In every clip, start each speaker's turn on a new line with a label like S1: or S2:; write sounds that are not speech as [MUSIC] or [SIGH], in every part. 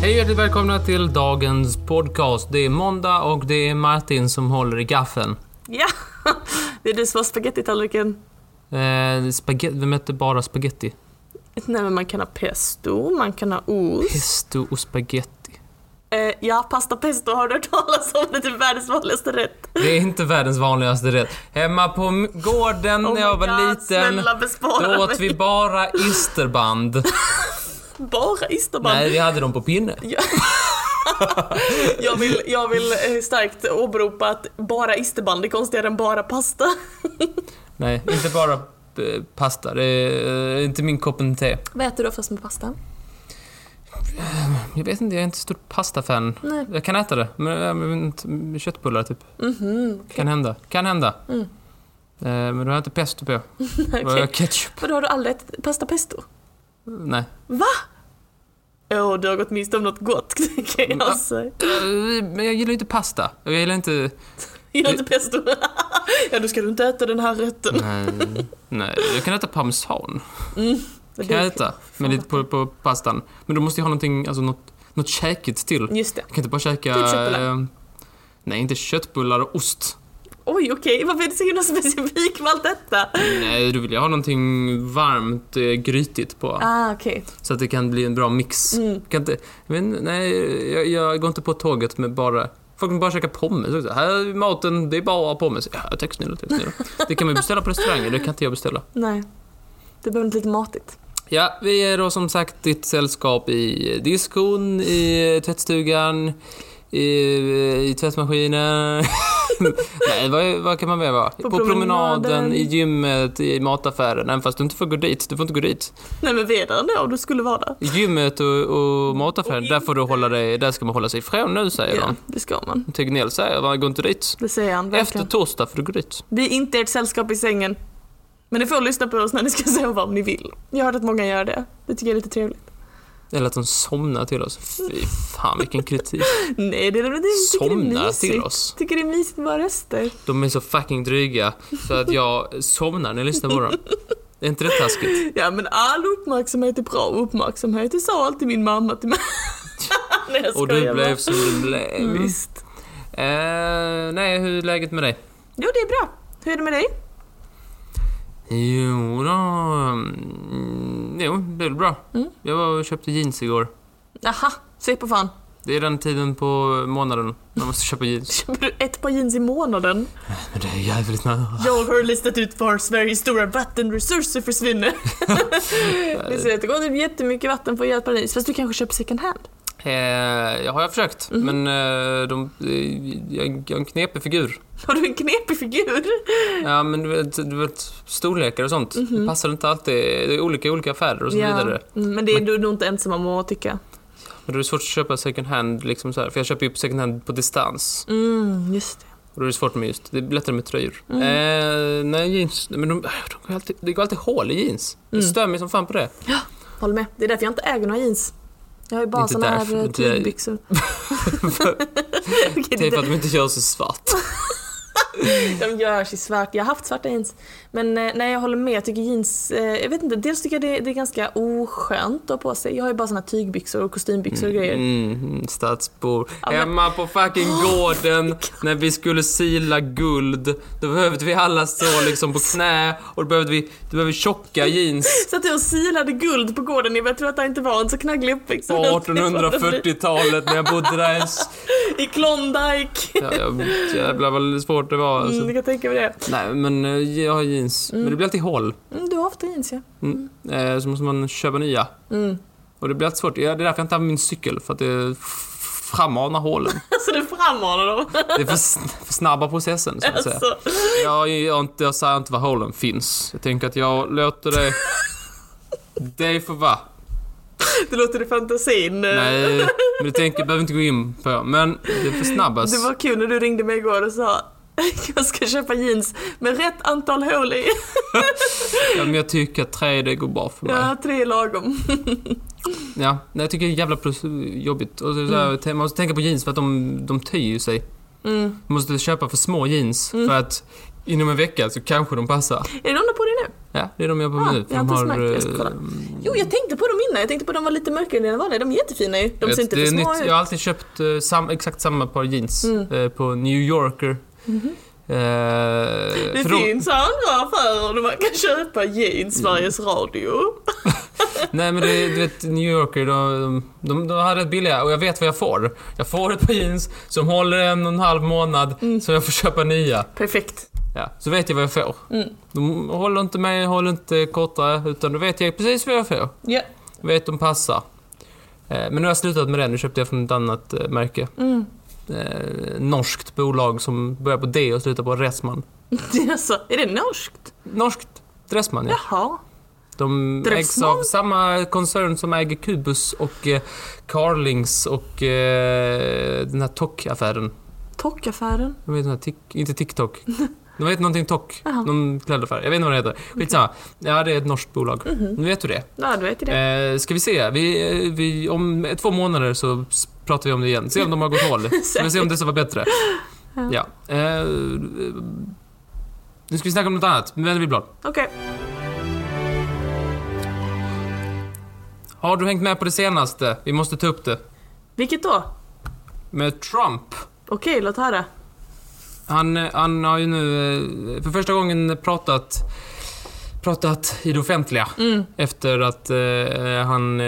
S1: Hej och hjärtligt välkomna till dagens podcast. Det är måndag och det är Martin som håller i gaffeln.
S2: Ja, [LAUGHS] det är du som har spagettitallriken.
S1: Eh, spaghetti, vem äter bara spaghetti?
S2: Nej men man kan ha pesto, man kan ha ost.
S1: Pesto och spaghetti.
S2: Eh, ja, pasta pesto har du hört talas om, det är typ världens vanligaste rätt.
S1: Det är inte världens vanligaste rätt. Hemma på m- gården
S2: Oh
S1: när jag
S2: my
S1: var
S2: God,
S1: liten,
S2: snälla
S1: då
S2: bespara mig.
S1: åt vi bara
S2: [LAUGHS]
S1: isterband.
S2: Bara isterband.
S1: Nej, vi hade dem på pinne.
S2: Ja. jag, vill, jag vill eh, starkt åberopa att bara isterband är konstigare än bara pasta.
S1: Nej, inte bara eh, pasta. Det är eh, inte min kopp en te.
S2: Vad äter du oftast med pasta?
S1: Jag vet inte, jag är inte så stort pastafan.
S2: Nej.
S1: Jag kan äta det, men, eh, men inte- köttbullar typ.
S2: Mhm,
S1: Kan hända. Kan hända.
S2: Mm.
S1: Eh, Men då har jag inte pesto på.
S2: [LAUGHS] Okej.
S1: Då har jag ketchup.
S2: Vadå, har du aldrig ätit pasta pesto?
S1: Nej.
S2: Åh, du har gått miste om något gott, [LAUGHS] kan
S1: Ja.
S2: jag säga.
S1: Eh, Men jag gillar inte pasta. Och Jag gillar inte...
S2: Gillar inte pesto? [LAUGHS] ja, då ska du inte äta den här rätten.
S1: Nej. Nej. Jag kan äta parmesan. Kan
S2: Men
S1: jag
S2: det-
S1: äta. Men lite på, på pastan. Men då måste jag ha någonting, alltså något, något käkigt till. Jag
S2: Just det.
S1: kan inte bara käka...
S2: Typ köttbullar.
S1: eh, Nej, inte köttbullar och ost.
S2: Oj, okej. Varför är du så himla specifik med allt detta?
S1: Nej, då vill jag ha någonting varmt, eh, grytigt på.
S2: Ah, okej.
S1: Så att det kan bli en bra mix.
S2: Mm.
S1: Kan inte, men, nej, jag, jag går inte på tåget med bara... Folk vill bara käka pommes. också. Här är maten, det är bara pommes. Ja, tack snälla, tack snälla. Det kan man beställa på restauranger, det kan inte jag beställa.
S2: Nej. Det blev lite matigt.
S1: Ja, vi är då som sagt ditt sällskap i diskon, i tvättstugan, i, i tvättmaskinen. [LAUGHS] nej, vad, vad kan man mer vara?
S2: På
S1: promenaden,
S2: promenaden.
S1: i gymmet, i mataffären. Även fast du inte får gå dit. Du får inte gå dit.
S2: Nej, men vi är där ändå om du skulle vara där.
S1: Gymmet och, och mataffären,
S2: Och
S1: där får du hålla dig, där ska man hålla sig ifrån nu säger
S2: Ja, det ska man.
S1: de. Tegnell säger, man går inte dit.
S2: Det säger han
S1: Efter
S2: verkligen.
S1: torsdag får du gå dit.
S2: Vi är inte ert sällskap i sängen. Men ni får lyssna på oss när ni ska [LAUGHS] sova om ni vill. Jag har hört att många gör det. Det tycker jag är lite trevligt.
S1: Eller att de somnar till oss. Fy fan vilken
S2: [LAUGHS]
S1: kritik.
S2: Nej, det är det inte. Jag tycker det är
S1: Somnar till
S2: mysigt.
S1: oss.
S2: Tycker det är mysigt med våra röster.
S1: De är så fucking dryga så att jag somnar när jag lyssnar på dem. Är inte det taskigt?
S2: Ja, men all uppmärksamhet är bra uppmärksamhet. Det sa alltid min mamma till mig. [LAUGHS] Nej, jag
S1: Och du
S2: skojar bara.
S1: blev som du blev.
S2: Mm. Visst.
S1: Eh, nej, hur är läget med dig?
S2: Jo, det är bra. Hur är det med dig?
S1: Jo då, mm, Jo, det är väl bra.
S2: Mm.
S1: Jag var och köpte jeans igår.
S2: Aha, se på fan.
S1: Det är den tiden på månaden man måste köpa
S2: [LAUGHS]
S1: jeans.
S2: Köper du ett par jeans i månaden?
S1: Men det är jävligt nära.
S2: Jag har listat ut var Sveriges stora vattenresurser [LAUGHS] försvinner. det ser att det går typ jättemycket vatten för att göra ett par jeans. Fast du kanske köper second hand?
S1: Eh, ja, har jag försökt,
S2: Mhm.
S1: men eh, de, eh, jag, jag är en knepig figur.
S2: Har du en knepig figur?
S1: Ja, men du vet, du vet storlekar och sånt.
S2: Mhm.
S1: Det passar inte alltid. Det är olika i olika affärer och så vidare.
S2: Mm, men det är du nog inte ensam om att tycka.
S1: Men då är det svårt att köpa second hand, liksom så här, för jag köper ju på second hand på distans.
S2: Mm, just det.
S1: Och då är det svårt med just, det är lättare med tröjor.
S2: Mm.
S1: Eh, nej, jeans, men de, de går alltid, det går alltid hål i jeans. Jag
S2: Mm.
S1: stör mig som fan
S2: [LAUGHS]
S1: på det.
S2: Håller med. Det är därför jag inte äger några jeans. Jag har ju bara
S1: Inte
S2: såna
S1: därför,
S2: här eh,
S1: inte jag-
S2: tygbyxor. [LAUGHS] Okej,
S1: Det är
S2: det-
S1: typ för att de inte gör så svart.
S2: De görs i svart. Jag har haft svarta jeans. Men eh, nej, jag håller med. Jag tycker jeans... Eh, jag vet inte. Dels tycker jag det, det är ganska oskönt att ha på sig. Jag har ju bara såna här tygbyxor och kostymbyxor och grejer.
S1: Mm, stadsbor.
S2: Ja, men-
S1: Hemma på fucking gården när vi skulle sila guld, då behövde vi alla stå liksom på knä och då behövde vi, då behövde vi tjocka jeans
S2: Satt jag och silade guld på gården. Jag tror att det inte var en så knagglig uppväxt. [LAUGHS]
S1: på 1840-talet när jag bodde där.
S2: I Klondike.
S1: Ja, jag, jävlar vad svårt det var
S2: Mm,
S1: alltså.
S2: jag kan tänka mig det.
S1: Nej men eh, jag har jeans, men det blir alltid hål.
S2: Mm, du har haft jeans ja. [LAUGHS]
S1: Mm. Eh, Så måste man köpa nya.
S2: Mm.
S1: Och det blir alltid svårt. Ja, Det är därför jag inte använder min cykel, för att det f- frammanar hålen.
S2: Så det frammanar dem.
S1: Det är för, sn- för snabba processen, så
S2: [LAUGHS]
S1: att säga.
S2: Alltså.
S1: Jag, jag, inte, jag säger inte var hålen finns. Jag tänker att jag låter dig... dig få vara.
S2: Det låter i fantasin.
S1: Nej, men det tänker jag behöver inte gå in på. Men det försnabbas.
S2: Det var kul när du ringde mig igår och sa [LAUGHS] jag ska köpa jeans med rätt antal hål i.
S1: Ja, men jag tycker att tre, det går bra för mig.
S2: Jag
S1: Ja.
S2: har tre lagom.
S1: Nej, jag tycker det är jävla plus, jobbigt. Och så, så här, Man måste tänka på jeans för att de, de tyr ju sig.
S2: Mm.
S1: Man måste köpa för små jeans för att inom en vecka så kanske de passar.
S2: Är det någon där på dig nu?
S1: Ja, det är de jag har på
S2: Ah,
S1: mig nu.
S2: jag har inte ens märkt det. Jag ska
S1: eh,
S2: kolla. Jo, jag tänkte på dem innan. Jag tänkte på de var lite mörkare än de vanliga. De är jättefina ju. De
S1: vet,
S2: ser inte
S1: det
S2: för
S1: är
S2: små
S1: nytt.
S2: ut. Mm.
S1: Jag har alltid köpt eh, sam, exakt samma par jeans eh, på New Yorker. Eh,
S2: Mhm. Det
S1: för de-
S2: finns andra affärer där man kan köpa jeans,
S1: Mm.
S2: Sveriges Radio.
S1: Nej men det, du vet New Yorker, de, de, de här är rätt billiga och jag vet vad jag får. Jag får ett par jeans som håller en och en halv månad
S2: Mm.
S1: så jag får köpa nya.
S2: Perfekt.
S1: Ja, så vet jag vad jag får.
S2: Mm.
S1: De håller inte mig, håller inte korta utan då vet jag precis vad jag får.
S2: Ja.
S1: Jag vet de passar. Eh, Men nu har jag slutat med det, nu köpte jag från ett annat eh, märke.
S2: Mm. [LAUGHS]
S1: Eh, norskt bolag som börjar på D och slutar på Dressman.
S2: Alltså, är det norskt?
S1: Norskt Dressman ja.
S2: Jaha.
S1: De ägs
S2: Dressman?
S1: av samma koncern som äger Kubus och eh, Carlings och eh, den här Tok-affären.
S2: Tockaffären.
S1: De heter den här Tik- inte TikTok. De heter någonting Tok.
S2: Jaha.
S1: Någon klädaffär. Jag vet inte vad det heter. Skitsamma. Ja, det är ett norskt bolag. Nu vet du det.
S2: Mhm. Ja, du vet ju det.
S1: Eh, ska vi se? Vi, eh, vi, om eh, två månader så s- pratar vi om det igen. Se om de har gått hål. Ska vi se om det ska vara bättre. Ja. Eh, nu ska vi snacka om något annat. Nu vänder vi blad.
S2: Okej.
S1: Har du hängt med på det senaste? Vi måste ta upp det.
S2: Vilket då?
S1: Med Trump.
S2: Okej, låt höra.
S1: Han, eh, han har ju nu eh, för första gången pratat, pratat i det offentliga
S2: Mm.
S1: efter att eh, han eh,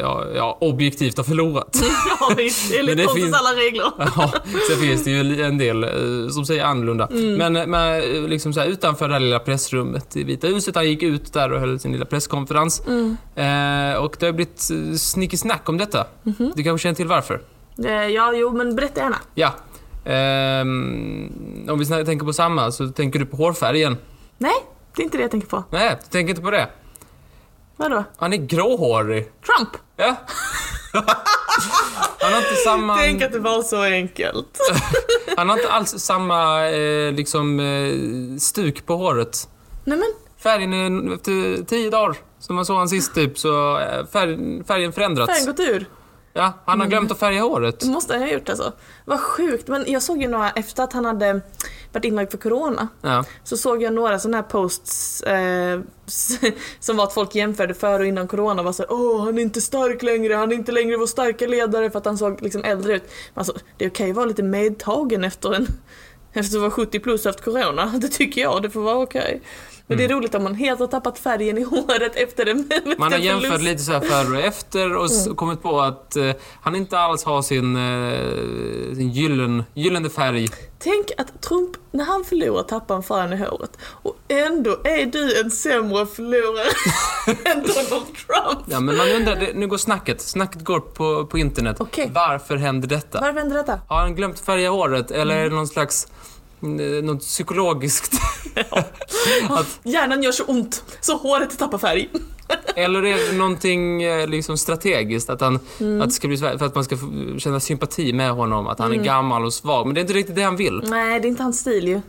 S1: ja, ja, objektivt har förlorat.
S2: [LAUGHS]
S1: [LAUGHS]
S2: Ja, visst.
S1: Men det
S2: Enligt konstens
S1: finns-
S2: alla regler.
S1: Ja, sen finns det ju en del eh, som säger annorlunda. Men, men eh, liksom så här, utanför det här lilla pressrummet i Vita huset, han gick ut där och höll sin lilla presskonferens. Eh, och det har blivit eh, snickesnack om detta. Du kanske känner till varför?
S2: Eh, Ja, jo, men berätta gärna.
S1: Ja. Ehm, om vi snä- tänker på samma så tänker du på hårfärgen.
S2: Nej, det är inte det jag tänker på.
S1: Nej, du tänker inte på det.
S2: Vadå?
S1: Han är gråhårig.
S2: Trump!
S1: Ja. [LAUGHS] Han har inte samma...
S2: att det var så enkelt.
S1: Han har inte alls samma eh, liksom, eh, stuk på håret.
S2: Nej men,
S1: Färgen är efter tio dagar, som man såg han sist typ, så eh, färg, färgen förändrats.
S2: färgen gått ur.
S1: Ja, han har glömt att färga håret.
S2: Det måste han ha gjort alltså. Vad sjukt. Men jag såg ju några, efter att han hade varit inlagd för corona,
S1: Ja.
S2: så såg jag några sådana här posts eh, [LAUGHS] som var att folk jämförde före och innan corona. Var så här, Åh, han är inte stark längre, han är inte längre vår starka ledare för att han såg liksom äldre ut. Men alltså, det kan ju vara lite medtagen efter en [LAUGHS] efter att vara 70 plus och haft corona. [LAUGHS] Det tycker jag, det får vara okej. Men det är roligt om man helt har tappat färgen i [LAUGHS] håret efter det.
S1: Mm. Man har jämfört lite så här före och efter och s- kommit på att eh, han inte alls har sin, eh, sin gyllen, gyllene färg.
S2: Tänk att Trump, när han förlorar tappar han fan i håret. Och ändå är du en sämre förlorare [LAUGHS] än Donald Trump.
S1: Ja, men man undrar, det, nu går snacket. Snacket går på, på internet.
S2: Okej.
S1: Varför händer detta?
S2: Varför händer detta?
S1: Har han glömt färga håret eller är det någon slags eh, något psykologiskt? [LAUGHS]
S2: Hjärnan gör så ont så håret tappar färg.
S1: Eller är det någonting eh, liksom strategiskt? Att, han, att, det ska bli, svär- för att man ska få känna sympati med honom, att han är gammal och svag. Men det är inte riktigt det han vill.
S2: Nej, det är inte hans stil ju.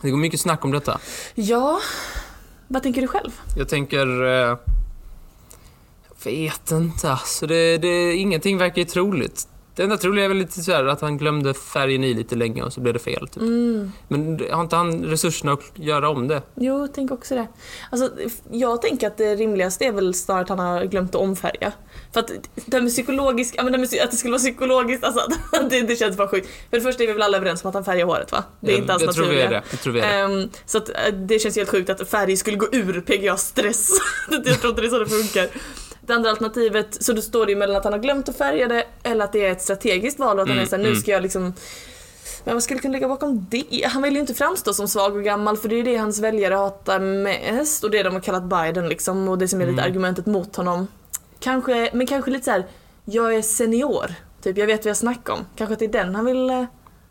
S1: Det går mycket snack om detta.
S2: Ja, vad tänker du själv?
S1: Jag tänker... Eh, jag vet inte. Alltså det, det, ingenting verkar ju troligt. Det enda troliga är väl lite så här att han glömde färgen i lite länge och så blev det fel. Typ.
S2: Mm.
S1: Men har inte han resurserna att göra om det?
S2: Jo, jag tänker också det. Alltså, jag tänker att det rimligaste är väl snarare att han har glömt att omfärga. För att det med psykologisk, ja, men det med, psy- att det skulle vara psykologiskt, alltså [LAUGHS] att det, det känns bara sjukt. För det första är vi väl alla överens om att han färgar håret va? Det är inte alls
S1: jag, jag tror vi
S2: naturliga.
S1: är det. Jag tror vi är det.
S2: Ehm, så att, eh, det känns helt sjukt att färg skulle gå ur PGA-stress. jag tror inte [LAUGHS] det är så det funkar. Det andra alternativet, så då står det ju mellan att han har glömt att färga det eller att det är ett strategiskt val och att han
S1: Mm,
S2: är såhär, nu
S1: mm.
S2: ska jag liksom men vad skulle kunna ligga bakom det? Han vill ju inte framstå som svag och gammal för det är ju det hans väljare hatar mest och det de har kallat Biden liksom och det som är lite
S1: Mm.
S2: argumentet mot honom. Kanske, men kanske lite så här: jag är senior, typ jag vet vad jag snackar om. Kanske att det är den han vill eh,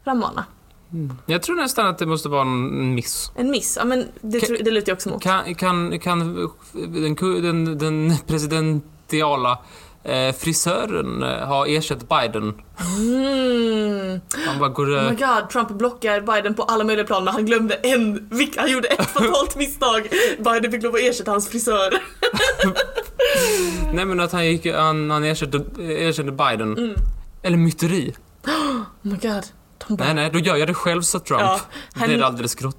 S2: frammana.
S1: Mm. Jag tror nästan att det måste vara en miss.
S2: En miss, ja men det,
S1: Kan-
S2: tror- det lutar jag också mot.
S1: Kan, kan, kan den, ku- den, den presidentiala eh, frisören eh, ha ersatt Biden?
S2: Mm.
S1: Han bara går...
S2: Oh
S1: eh,
S2: my god, Trump blockar Biden på alla möjliga plan men han glömde en, vik- han gjorde ett fatalt [LAUGHS] misstag. Biden fick lov att ersätta hans frisör.
S1: Nej men att han, gick, han, han erkände, erkände Biden.
S2: Mm.
S1: Eller myteri.
S2: Oh my god. De bara,
S1: Nej nej, då gör jag det själv sa Trump.
S2: Ja,
S1: Det
S2: han, [LAUGHS]
S1: är alldeles grått.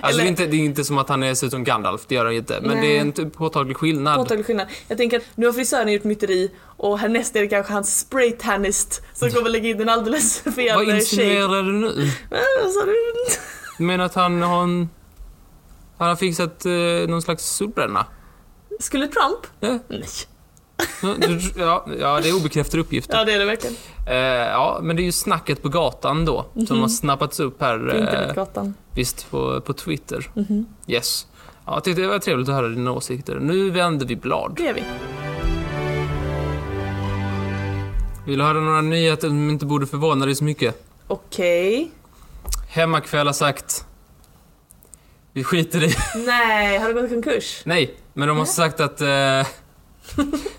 S1: Alltså, det, är
S2: Eller-
S1: inte, det är inte som att han är, ser ut som Gandalf, det gör han ju inte. Men
S2: Nej.
S1: det är en typ påtaglig skillnad.
S2: Påtaglig skillnad. Jag tänker att nu har frisören gjort myteri och härnäst är det kanske hans spraytannist som kommer lägga in en alldeles [LAUGHS]
S1: Vad
S2: fel eh, shade.
S1: insinuerar du nu?
S2: Ah, vad sa du?
S1: Du menar att han har en... Han har fixat eh, någon slags solbränna?
S2: Skulle Trump?
S1: Ja.
S2: Nej.
S1: Ja, ja, det är obekräftade uppgifter.
S2: Ja det är det verkligen.
S1: Eh, ja, men det är ju snacket på gatan då, som
S2: Mhm.
S1: har snappats upp här. eh,
S2: Internetgatan.
S1: visst, på, på Twitter.
S2: Mhm.
S1: Yes. Ja, jag tyckte det var trevligt att höra dina åsikter. Nu vänder vi blad.
S2: Det är vi.
S1: Vill du höra några nyheter som inte borde förvåna dig så mycket?
S2: Okej.
S1: Hemmakväll har sagt... Vi skiter i... [LAUGHS]
S2: Nej, har du gått i konkurs?
S1: Nej, men de har sagt att... Eh, [LAUGHS]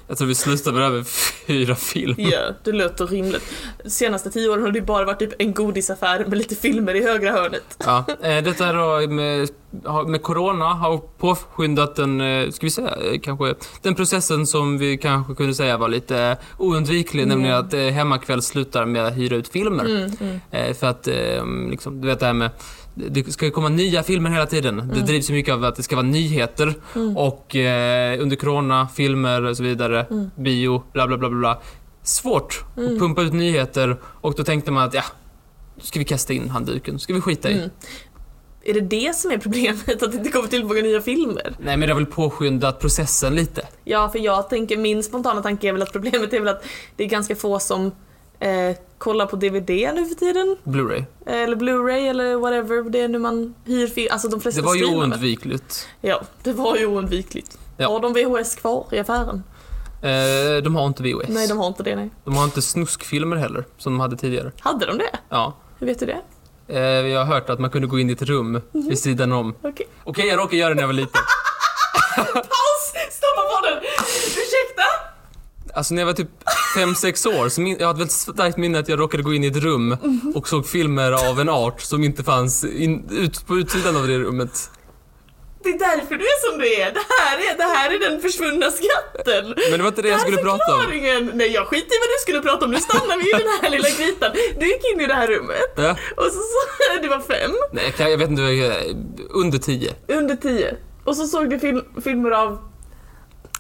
S1: jag tror vi slutar med över fyra film.
S2: Ja, det låter rimligt. De senaste tio åren har det bara varit typ en godisaffär med lite filmer i högra hörnet.
S1: Ja, eh, detta då med, har- med corona har påskyndat den, eh, ska vi säga, eh, kanske den processen som vi kanske kunde säga var lite oundviklig,
S2: Mm.
S1: nämligen att eh, Hemmakväll slutar med att hyra ut filmer.
S2: Mm, mm.
S1: Eh, För att, eh, liksom, du vet det här med, det ska ju komma nya filmer hela tiden. Det
S2: Mm.
S1: drivs ju mycket av att det ska vara nyheter
S2: Mm.
S1: och eh, under corona, filmer och så vidare,
S2: Mm.
S1: bio, bla bla bla bla, bla. Svårt att
S2: Mm.
S1: pumpa ut nyheter och då tänkte man att ja, nu ska vi kasta in handduken, ska vi skita i.
S2: Mm. Är det det som är problemet? Att det inte kommer tillbaka nya filmer?
S1: Nej men det har väl påskyndat processen lite.
S2: Ja, för jag tänker, min spontana tanke är väl att problemet är väl att det är ganska få som eh, kollar på DVD nu för tiden.
S1: Blu-ray.
S2: Eller Blu-ray eller whatever det är nu man hyr film. Alltså de flesta
S1: Det var ju
S2: streamar väl?
S1: oundvikligt.
S2: Ja, det var ju oundvikligt.
S1: Ja.
S2: Har de VHS kvar i affären?
S1: Eh, de har inte VHS.
S2: Nej, de har inte det nej.
S1: de har inte snuskfilmer heller, som de hade tidigare.
S2: Hade de det?
S1: Ja.
S2: Hur vet du det?
S1: Eh, jag har hört att man kunde gå in i ett rum vid sidan om.
S2: Mhm. Okej.
S1: Okej, jag råkade göra det när jag var liten.
S2: Paus! Stoppa podden! Ursäkta?
S1: Alltså när jag var typ 5-6 år, så min- jag hade väldigt starkt minne att jag råkade gå in i ett rum
S2: Mhm.
S1: och såg filmer av en art som inte fanns in, ut, på utsidan av det rummet.
S2: Det är därför du är som du är. Det här är, det här är den försvunna skatten.
S1: Men det var inte det jag
S2: här är
S1: skulle prata om.
S2: förklaringen. Nej, jag skiter i vad du skulle prata om. Nu stannar vi i den här lilla grytan. Du gick in i det här rummet
S1: Ja.
S2: och så, [LAUGHS] så du var fem,
S1: Nej, jag, kan- jag vet inte, jag är under 10.
S2: under tio och så såg du fil- filmer av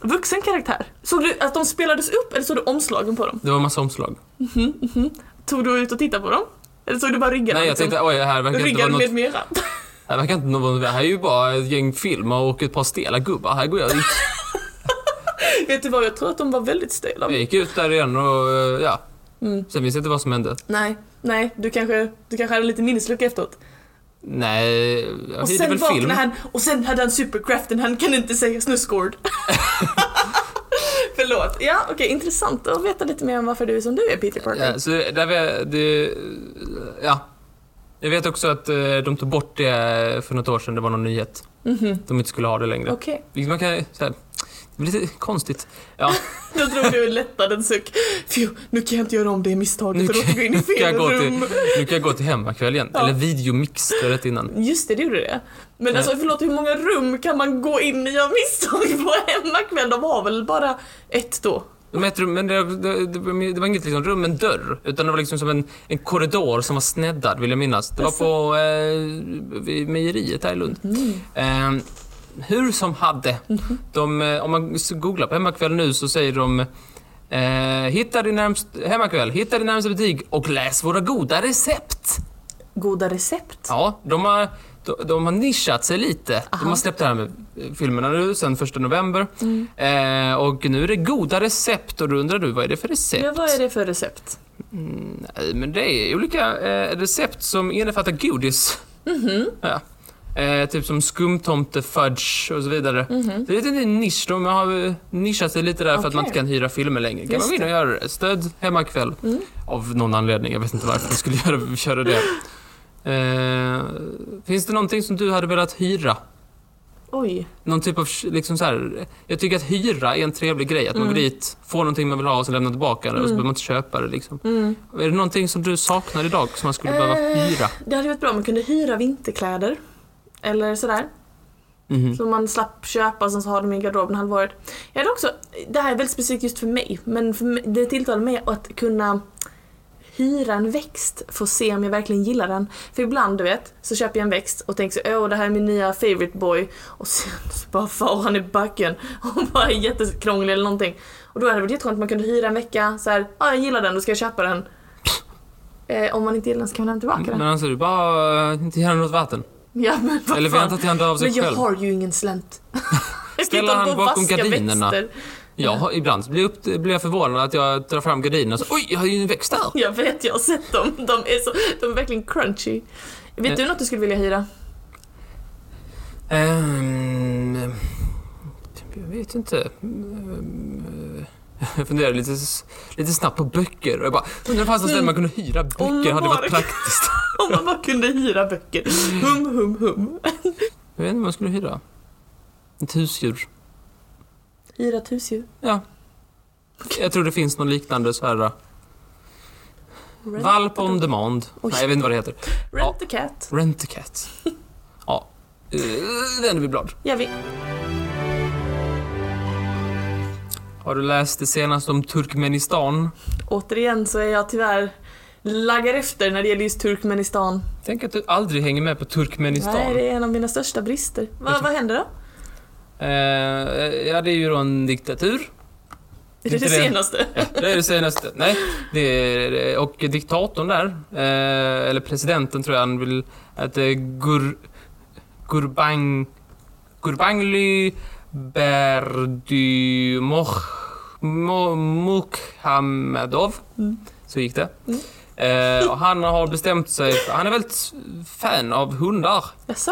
S2: vuxen karaktär. Såg du att de spelades upp eller såg du omslagen på dem?
S1: Det var massa omslag.
S2: Tog du ut och tittade på dem? Eller såg du bara ryggarna?
S1: Nej, jag
S2: liksom?
S1: tänkte oj, här verkar inte vara
S2: Ryggar
S1: något
S2: med mera. [LAUGHS]
S1: Här verkar inte någon, här är ju bara ett gäng filmer och ett par stela gubbar. Här går jag ut.
S2: Vet du vad, jag tror att de var väldigt stela.
S1: Jag gick ut där igen och eh, ja.
S2: Mm.
S1: Sen visste jag inte vad som hände.
S2: Nej, nej, du kanske, du kanske hade lite minneslucka efteråt.
S1: Nej, jag
S2: Och
S1: hyrde
S2: sen
S1: väl film.
S2: vaknade han och sen hade han superkraften, han kan inte
S1: [LAUGHS]
S2: säga snuskord. Förlåt. Ja, okej, intressant att veta lite mer om varför du är som du är Peter Parker.
S1: Ja, så där var, det, ja. Jag vet också att eh, de tog bort det för något år sedan, det var någon nyhet.
S2: Mhm,
S1: De inte skulle ha det längre.
S2: Okej,
S1: Vilket man kan, så här, det blir lite konstigt. Ja,
S2: då drog du en lättnadens suck. Fy, nu kan jag inte göra om det misstaget
S1: Nu
S2: och råkade gå in i
S1: kan jag
S2: fel
S1: gå till-
S2: rum.
S1: nu kan jag gå till hemmakväll igen.
S2: Ja.
S1: Eller videomix, det var rätt innan.
S2: Just det, det gjorde det. Men alltså förlåt, hur många rum kan man gå in i av misstag på hemmakväll? De har väl bara ett då?
S1: De hette rum, men det, det, det, det var inget liksom rum, en dörr. Utan det var liksom som en, en korridor som var sneddad, vill jag minnas. Det var på eh, vid mejeriet här i Lund.
S2: Mm.
S1: Eh, hur som hade,
S2: Mhm.
S1: de, eh, om man s- googlar på Hemmakväll nu så säger de eh, hitta, din närmst, hemmakväll, hitta din närmsta butik och läs våra goda recept.
S2: Goda recept?
S1: Ja, de har, de, de har nischat sig lite. De har släppt det här med eh, filmerna nu sen 1 november. Eh, och nu är det goda recept och då undrar du vad är det för recept? Mm,
S2: Men vad är det för recept?
S1: Nej, men det är olika eh, recept som innefattar godis.
S2: Mhm.
S1: Ja. Eh, typ som skumtomte, fudge och så vidare.
S2: Mhm.
S1: Det är lite en nisch. De har eh, nischat sig lite där för att man
S2: Okej.
S1: inte kan hyra filmer längre. Kan
S2: Just Mm.
S1: man gå in och göra det? Stöd Hemmakväll. Av någon anledning. Jag vet inte varför de skulle göra, köra det. Eh, finns det någonting som du hade velat hyra?
S2: Oj.
S1: Någon typ av, liksom så här, jag tycker att hyra är en trevlig grej. Att man
S2: Mm.
S1: går dit, får någonting man vill ha och sen lämnar tillbaka det och så behöver man inte köpa det. Liksom.
S2: Mm.
S1: Är det någonting som du saknar idag som man skulle behöva
S2: Eh.
S1: hyra?
S2: Det hade varit bra om man kunde hyra vinterkläder. Eller sådär.
S1: Mhm.
S2: Så man slapp köpa sen så har de i garderoben halva året. Jag hade också, det här är väldigt specifikt just för mig, men för mig, det tilltalar mig att kunna hyra en växt för att se om jag verkligen gillar den. För ibland, du vet, så köper jag en växt och tänker så åh det här är min nya favorite boy och sen så bara far han i backen och bara är jättekrånglig eller någonting. Och då hade det varit jätteskönt om man kunde hyra en vecka så här, ja jag gillar den, då ska jag köpa den. Eh, om man inte gillar den så kan man lämna tillbaka
S1: Men
S2: den.
S1: alltså, du bara eh, inte ger honom något vatten.
S2: Ja men vad
S1: Eller
S2: fan.
S1: vänta till han dör av sig
S2: Men jag
S1: själv.
S2: har ju
S1: [LAUGHS]
S2: ingen slänt. Jag kan
S1: Ställer
S2: inte hålla
S1: han
S2: på och
S1: bakom
S2: vaska
S1: gardinerna?
S2: växter.
S1: Jag har, ibland så blir, jag upp, blir jag förvånad att jag drar fram gardinerna och så, oj, jag har ju en växt där.
S2: Jag vet, jag har sett dem. De är, så, de är verkligen crunchy. Vet
S1: Eh.
S2: du något du skulle vilja hyra? [LAUGHS]
S1: Ehm, jag vet inte. Ehm, Jag funderade lite, lite snabbt på böcker och jag bara, undrar om det fanns något ställe man kunde hyra böcker, hade varit
S2: Mm. Mark.
S1: praktiskt.
S2: Om man bara kunde hyra böcker. Hum, hum, hum.
S1: Jag vet inte vad jag skulle hyra. Ett husdjur.
S2: Hyra ett husdjur.
S1: Ja. Jag tror det finns någon liknande så här. Valp on demand.
S2: Oj.
S1: Nej, jag vet inte vad det heter.
S2: Rent a cat.
S1: Rent a
S2: [LAUGHS]
S1: cat. Ja. Eh, Vänder vi blad.
S2: Jag vet.
S1: Har du läst det senaste om Turkmenistan?
S2: Återigen så är jag tyvärr laggar efter när det gäller just Turkmenistan.
S1: Tänk att du aldrig hänger med på Turkmenistan.
S2: Nej, det är en av mina största brister. Va,
S1: Vet du-
S2: vad händer då?
S1: Eh, ja, det är ju då en diktatur.
S2: Är det
S1: Inte
S2: det
S1: det.
S2: senaste?
S1: [LAUGHS] Det är det senaste. Nej, det är, och diktatorn där, eh, eller presidenten tror jag han vill, att det är Gur, Gurbang, Gurbangly Berdy Moh, Mo- Mukhamedov.
S2: Mm.
S1: Så gick det. Eh, och han har bestämt sig, för, han är väldigt fan av hundar.
S2: Jaså?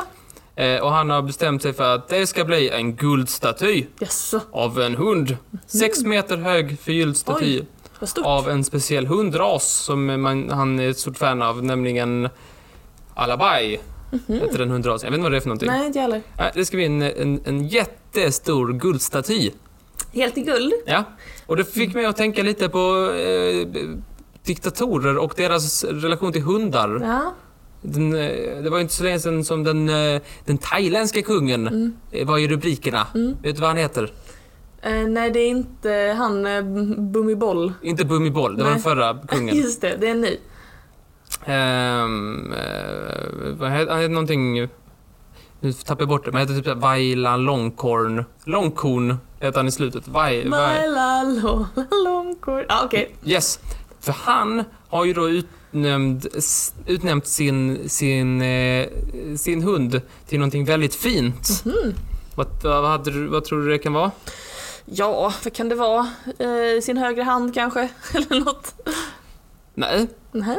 S1: Eh, och han har bestämt sig för att det ska bli en guldstaty
S2: Jaså?
S1: av en hund. Sex meter hög förgylld staty
S2: Mm. Oj. Vad stort?
S1: av en speciell hundras som man, han är ett stort fan av, nämligen Alabai. Heter den hundrasen. Jag vet inte vad det är för någonting. Nej.
S2: Mhm. Nej, inte jag heller.
S1: det ska bli en, en, en jättestor guldstaty.
S2: Helt i guld?
S1: Ja. Och det fick mig att tänka lite på eh, diktatorer och deras relation till hundar.
S2: Ja.
S1: Den, eh, det var ju inte så länge sedan som den, eh, den thailändska kungen
S2: Mm.
S1: eh, var i rubrikerna. Vet du vad han heter?
S2: Eh, nej, det är inte han eh, Bummiboll.
S1: Inte Bhumibol, det var
S2: Nej.
S1: den förra kungen.
S2: [LAUGHS] Just det, det är en ny.
S1: Ehm, eh, vad heter, han heter någonting... Nu tappar jag bort det, men han heter typ såhär Vailan Longkorn. Longkorn heter han i slutet. Vai, vai.
S2: Maila lola longkorn. Ja, okej.
S1: Yes. För han har ju då utnämnd, s- utnämnt sin, sin, eh, sin hund till någonting väldigt fint.
S2: Mhm.
S1: Vad, vad, hade du, vad tror du det kan vara?
S2: Ja, vad kan det vara? Eh, sin högra hand kanske? [LAUGHS] Eller något?
S1: Nej,
S2: Nej.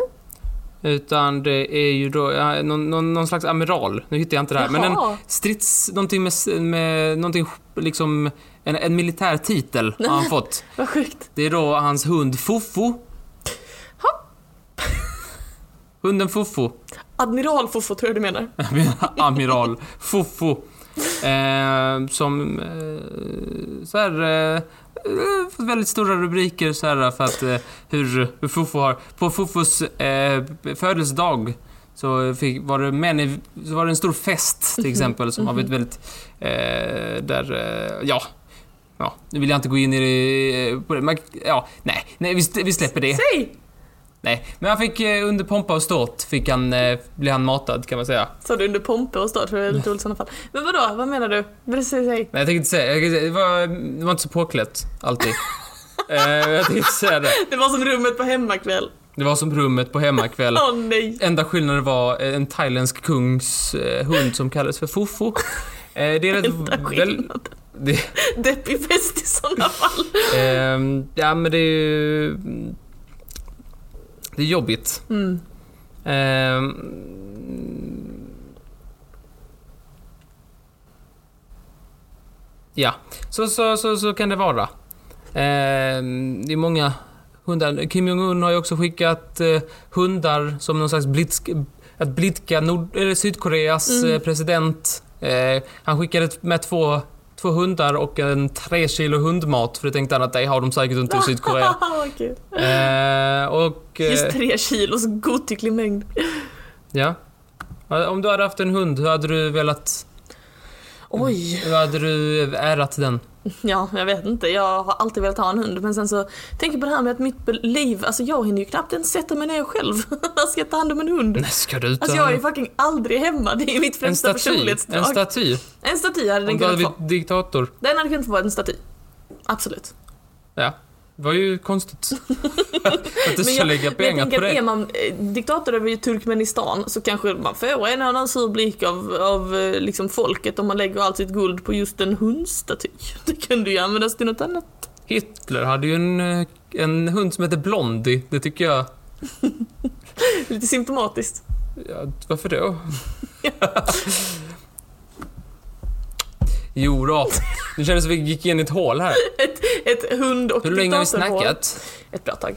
S1: utan det är ju då ja, någon, någon, någon slags amiral. Nu hittar jag inte det här. Men en,
S2: Jaha.
S1: Strids, någonting med, med någonting liksom, en, en militär titel har han fått.
S2: Vad sjukt.
S1: Det är då hans hund Fofo. Hunden Fofo,
S2: Admiral Fofo tror jag du menar.
S1: Jag menar [LAUGHS] amiral Fofo. Eh, som eh, så här, eh, fått väldigt stora rubriker så här, för att eh, hur, hur Fofo har... På Fofos eh, födelsedag så fick, var, det män i, så var det en stor fest till exempel som har blivit väldigt... Eh, där, eh, ja. Ja, nu vill jag inte gå in i det... eh, På det. Man, ja, nej, nej vi, vi släpper det.
S2: Säg!
S1: Nej, men han fick eh, under pompa och ståt fick han, eh, blev han matad kan man säga.
S2: Sa du under pompe och stad för det är lite roligt i sådana fall. Men vadå, vad menar du? Men Säg, säg.
S1: Nej, jag tänkte inte säga. Jag tänkte, det, var, det var inte så påklätt,
S2: [LAUGHS]
S1: alltid. Eh, jag tänkte inte säga det.
S2: Det var som rummet på hemmakväll.
S1: Det var som rummet på hemmakväll.
S2: Åh nej.
S1: Enda skillnaden var eh, en thailändsk kungs eh, hund som kallades för Fofo. Eh, det är
S2: Enda
S1: rätt... Väl,
S2: skillnaden.
S1: det,
S2: Deppig fest i
S1: [LAUGHS]
S2: sådana fall.
S1: ehm, ja, men det är ju... Det är jobbigt.
S2: Mm.
S1: Ehm. Ja, så, så, så, så kan det vara. Ehm, det är många hundar. Kim Jong-Un har ju också skickat eh, hundar som någon slags blitsk, att blidka Nord, eller Sydkoreas
S2: Mm.
S1: eh, president. Eh, han skickade med två, två hundar och en tre kilo hundmat för det tänkte han att det har de säkert
S2: [LAUGHS]
S1: inte i Sydkorea.
S2: Vad kul.
S1: Eh, och, eh,
S2: Just tre kilos godtycklig mängd.
S1: Ja. Om du hade haft en hund, hur hade du velat...
S2: Oj.
S1: Hur hade du ärat den?
S2: Ja, jag vet inte. Jag har alltid velat ha en hund. Men sen så tänker jag på det här med att mitt be- liv, alltså jag hinner ju knappt ens sätta mig ner själv. [LAUGHS] Jag ska ta hand om en hund.
S1: Nej, ska du ta
S2: Alltså jag är ju fucking aldrig hemma. Det är mitt
S1: Mm. en
S2: främsta
S1: staty?
S2: personlighetsdrag.
S1: En staty?
S2: en staty hade
S1: Om
S2: den
S1: du hade
S2: kunnat få.
S1: blivit diktator?
S2: Den hade kunnat få vara en staty. Absolut.
S1: Ja. Det var ju
S2: [LAUGHS]
S1: konstigt. att du
S2: Men
S1: ska
S2: jag-
S1: lägga
S2: Men jag
S1: pengar
S2: tänker
S1: på
S2: att är
S1: det.
S2: man eh, diktator över Turkmenistan så kanske man får en annan sur blick av, av eh, liksom folket om man lägger allt sitt guld på just en hundstaty. [LAUGHS] Det kunde ju användas till något annat.
S1: Hitler hade ju en, eh, en hund som hette Blondie. Det tycker jag...
S2: Lite symptomatiskt.
S1: Ja, varför då?
S2: [LAUGHS]
S1: jo då. Nu kändes det som vi gick in i ett hål här.
S2: Ett hund och
S1: Hur länge har vi
S2: diktatorhår.
S1: snackat?
S2: Ett bra tag.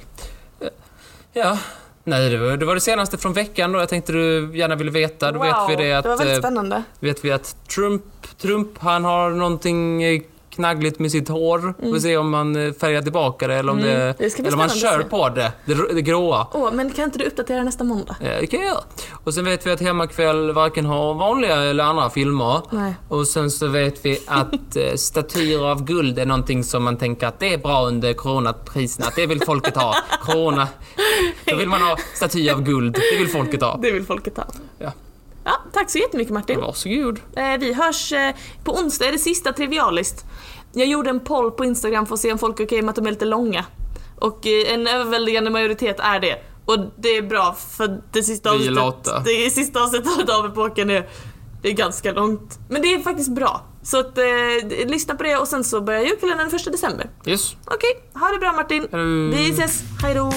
S1: Ja. Nej, det var, det var det senaste från veckan då. Jag tänkte du gärna ville veta. Då vet vi det att...
S2: det var väldigt
S1: eh,
S2: spännande.
S1: vet vi att Trump, Trump han har någonting eh, knaggligt med sitt hår. Vi får se om han eh, färgar tillbaka det eller om,
S2: Mm,
S1: det,
S2: det ska bli
S1: eller om han
S2: spännande
S1: kör
S2: att se.
S1: på det, det, r- det gråa.
S2: Åh, men kan inte du uppdatera nästa måndag?
S1: Eh, Det kan jag göra. Och sen vet vi att Hemmakväll varken har vanliga eller andra filmer.
S2: Nej.
S1: Och sen så vet vi att eh, statyer av guld är någonting som man tänker att det är bra under coronapriserna. Att det vill folket ha. Corona. Då vill man ha statyer av guld. Det vill folket ha.
S2: Det vill folket ha.
S1: Ja.
S2: Ja, tack så jättemycket Martin.
S1: Varsågod.
S2: Eh, vi hörs eh, på onsdag, är det sista trivialist. Jag gjorde en poll på Instagram för att se om folk är okej med att de är lite långa. Och eh, en överväldigande majoritet är det. Och det är bra för det sista
S1: Vi är lata.
S2: avsnittet, det sista avsnittet av epoken är, det är ganska långt. Men det är faktiskt bra. Så att, eh, d- lyssna på det och sen så börjar julkalendern den 1 december.
S1: Yes.
S2: Okej, ha det bra Martin.
S1: Hej då.
S2: Vi ses, hejdå!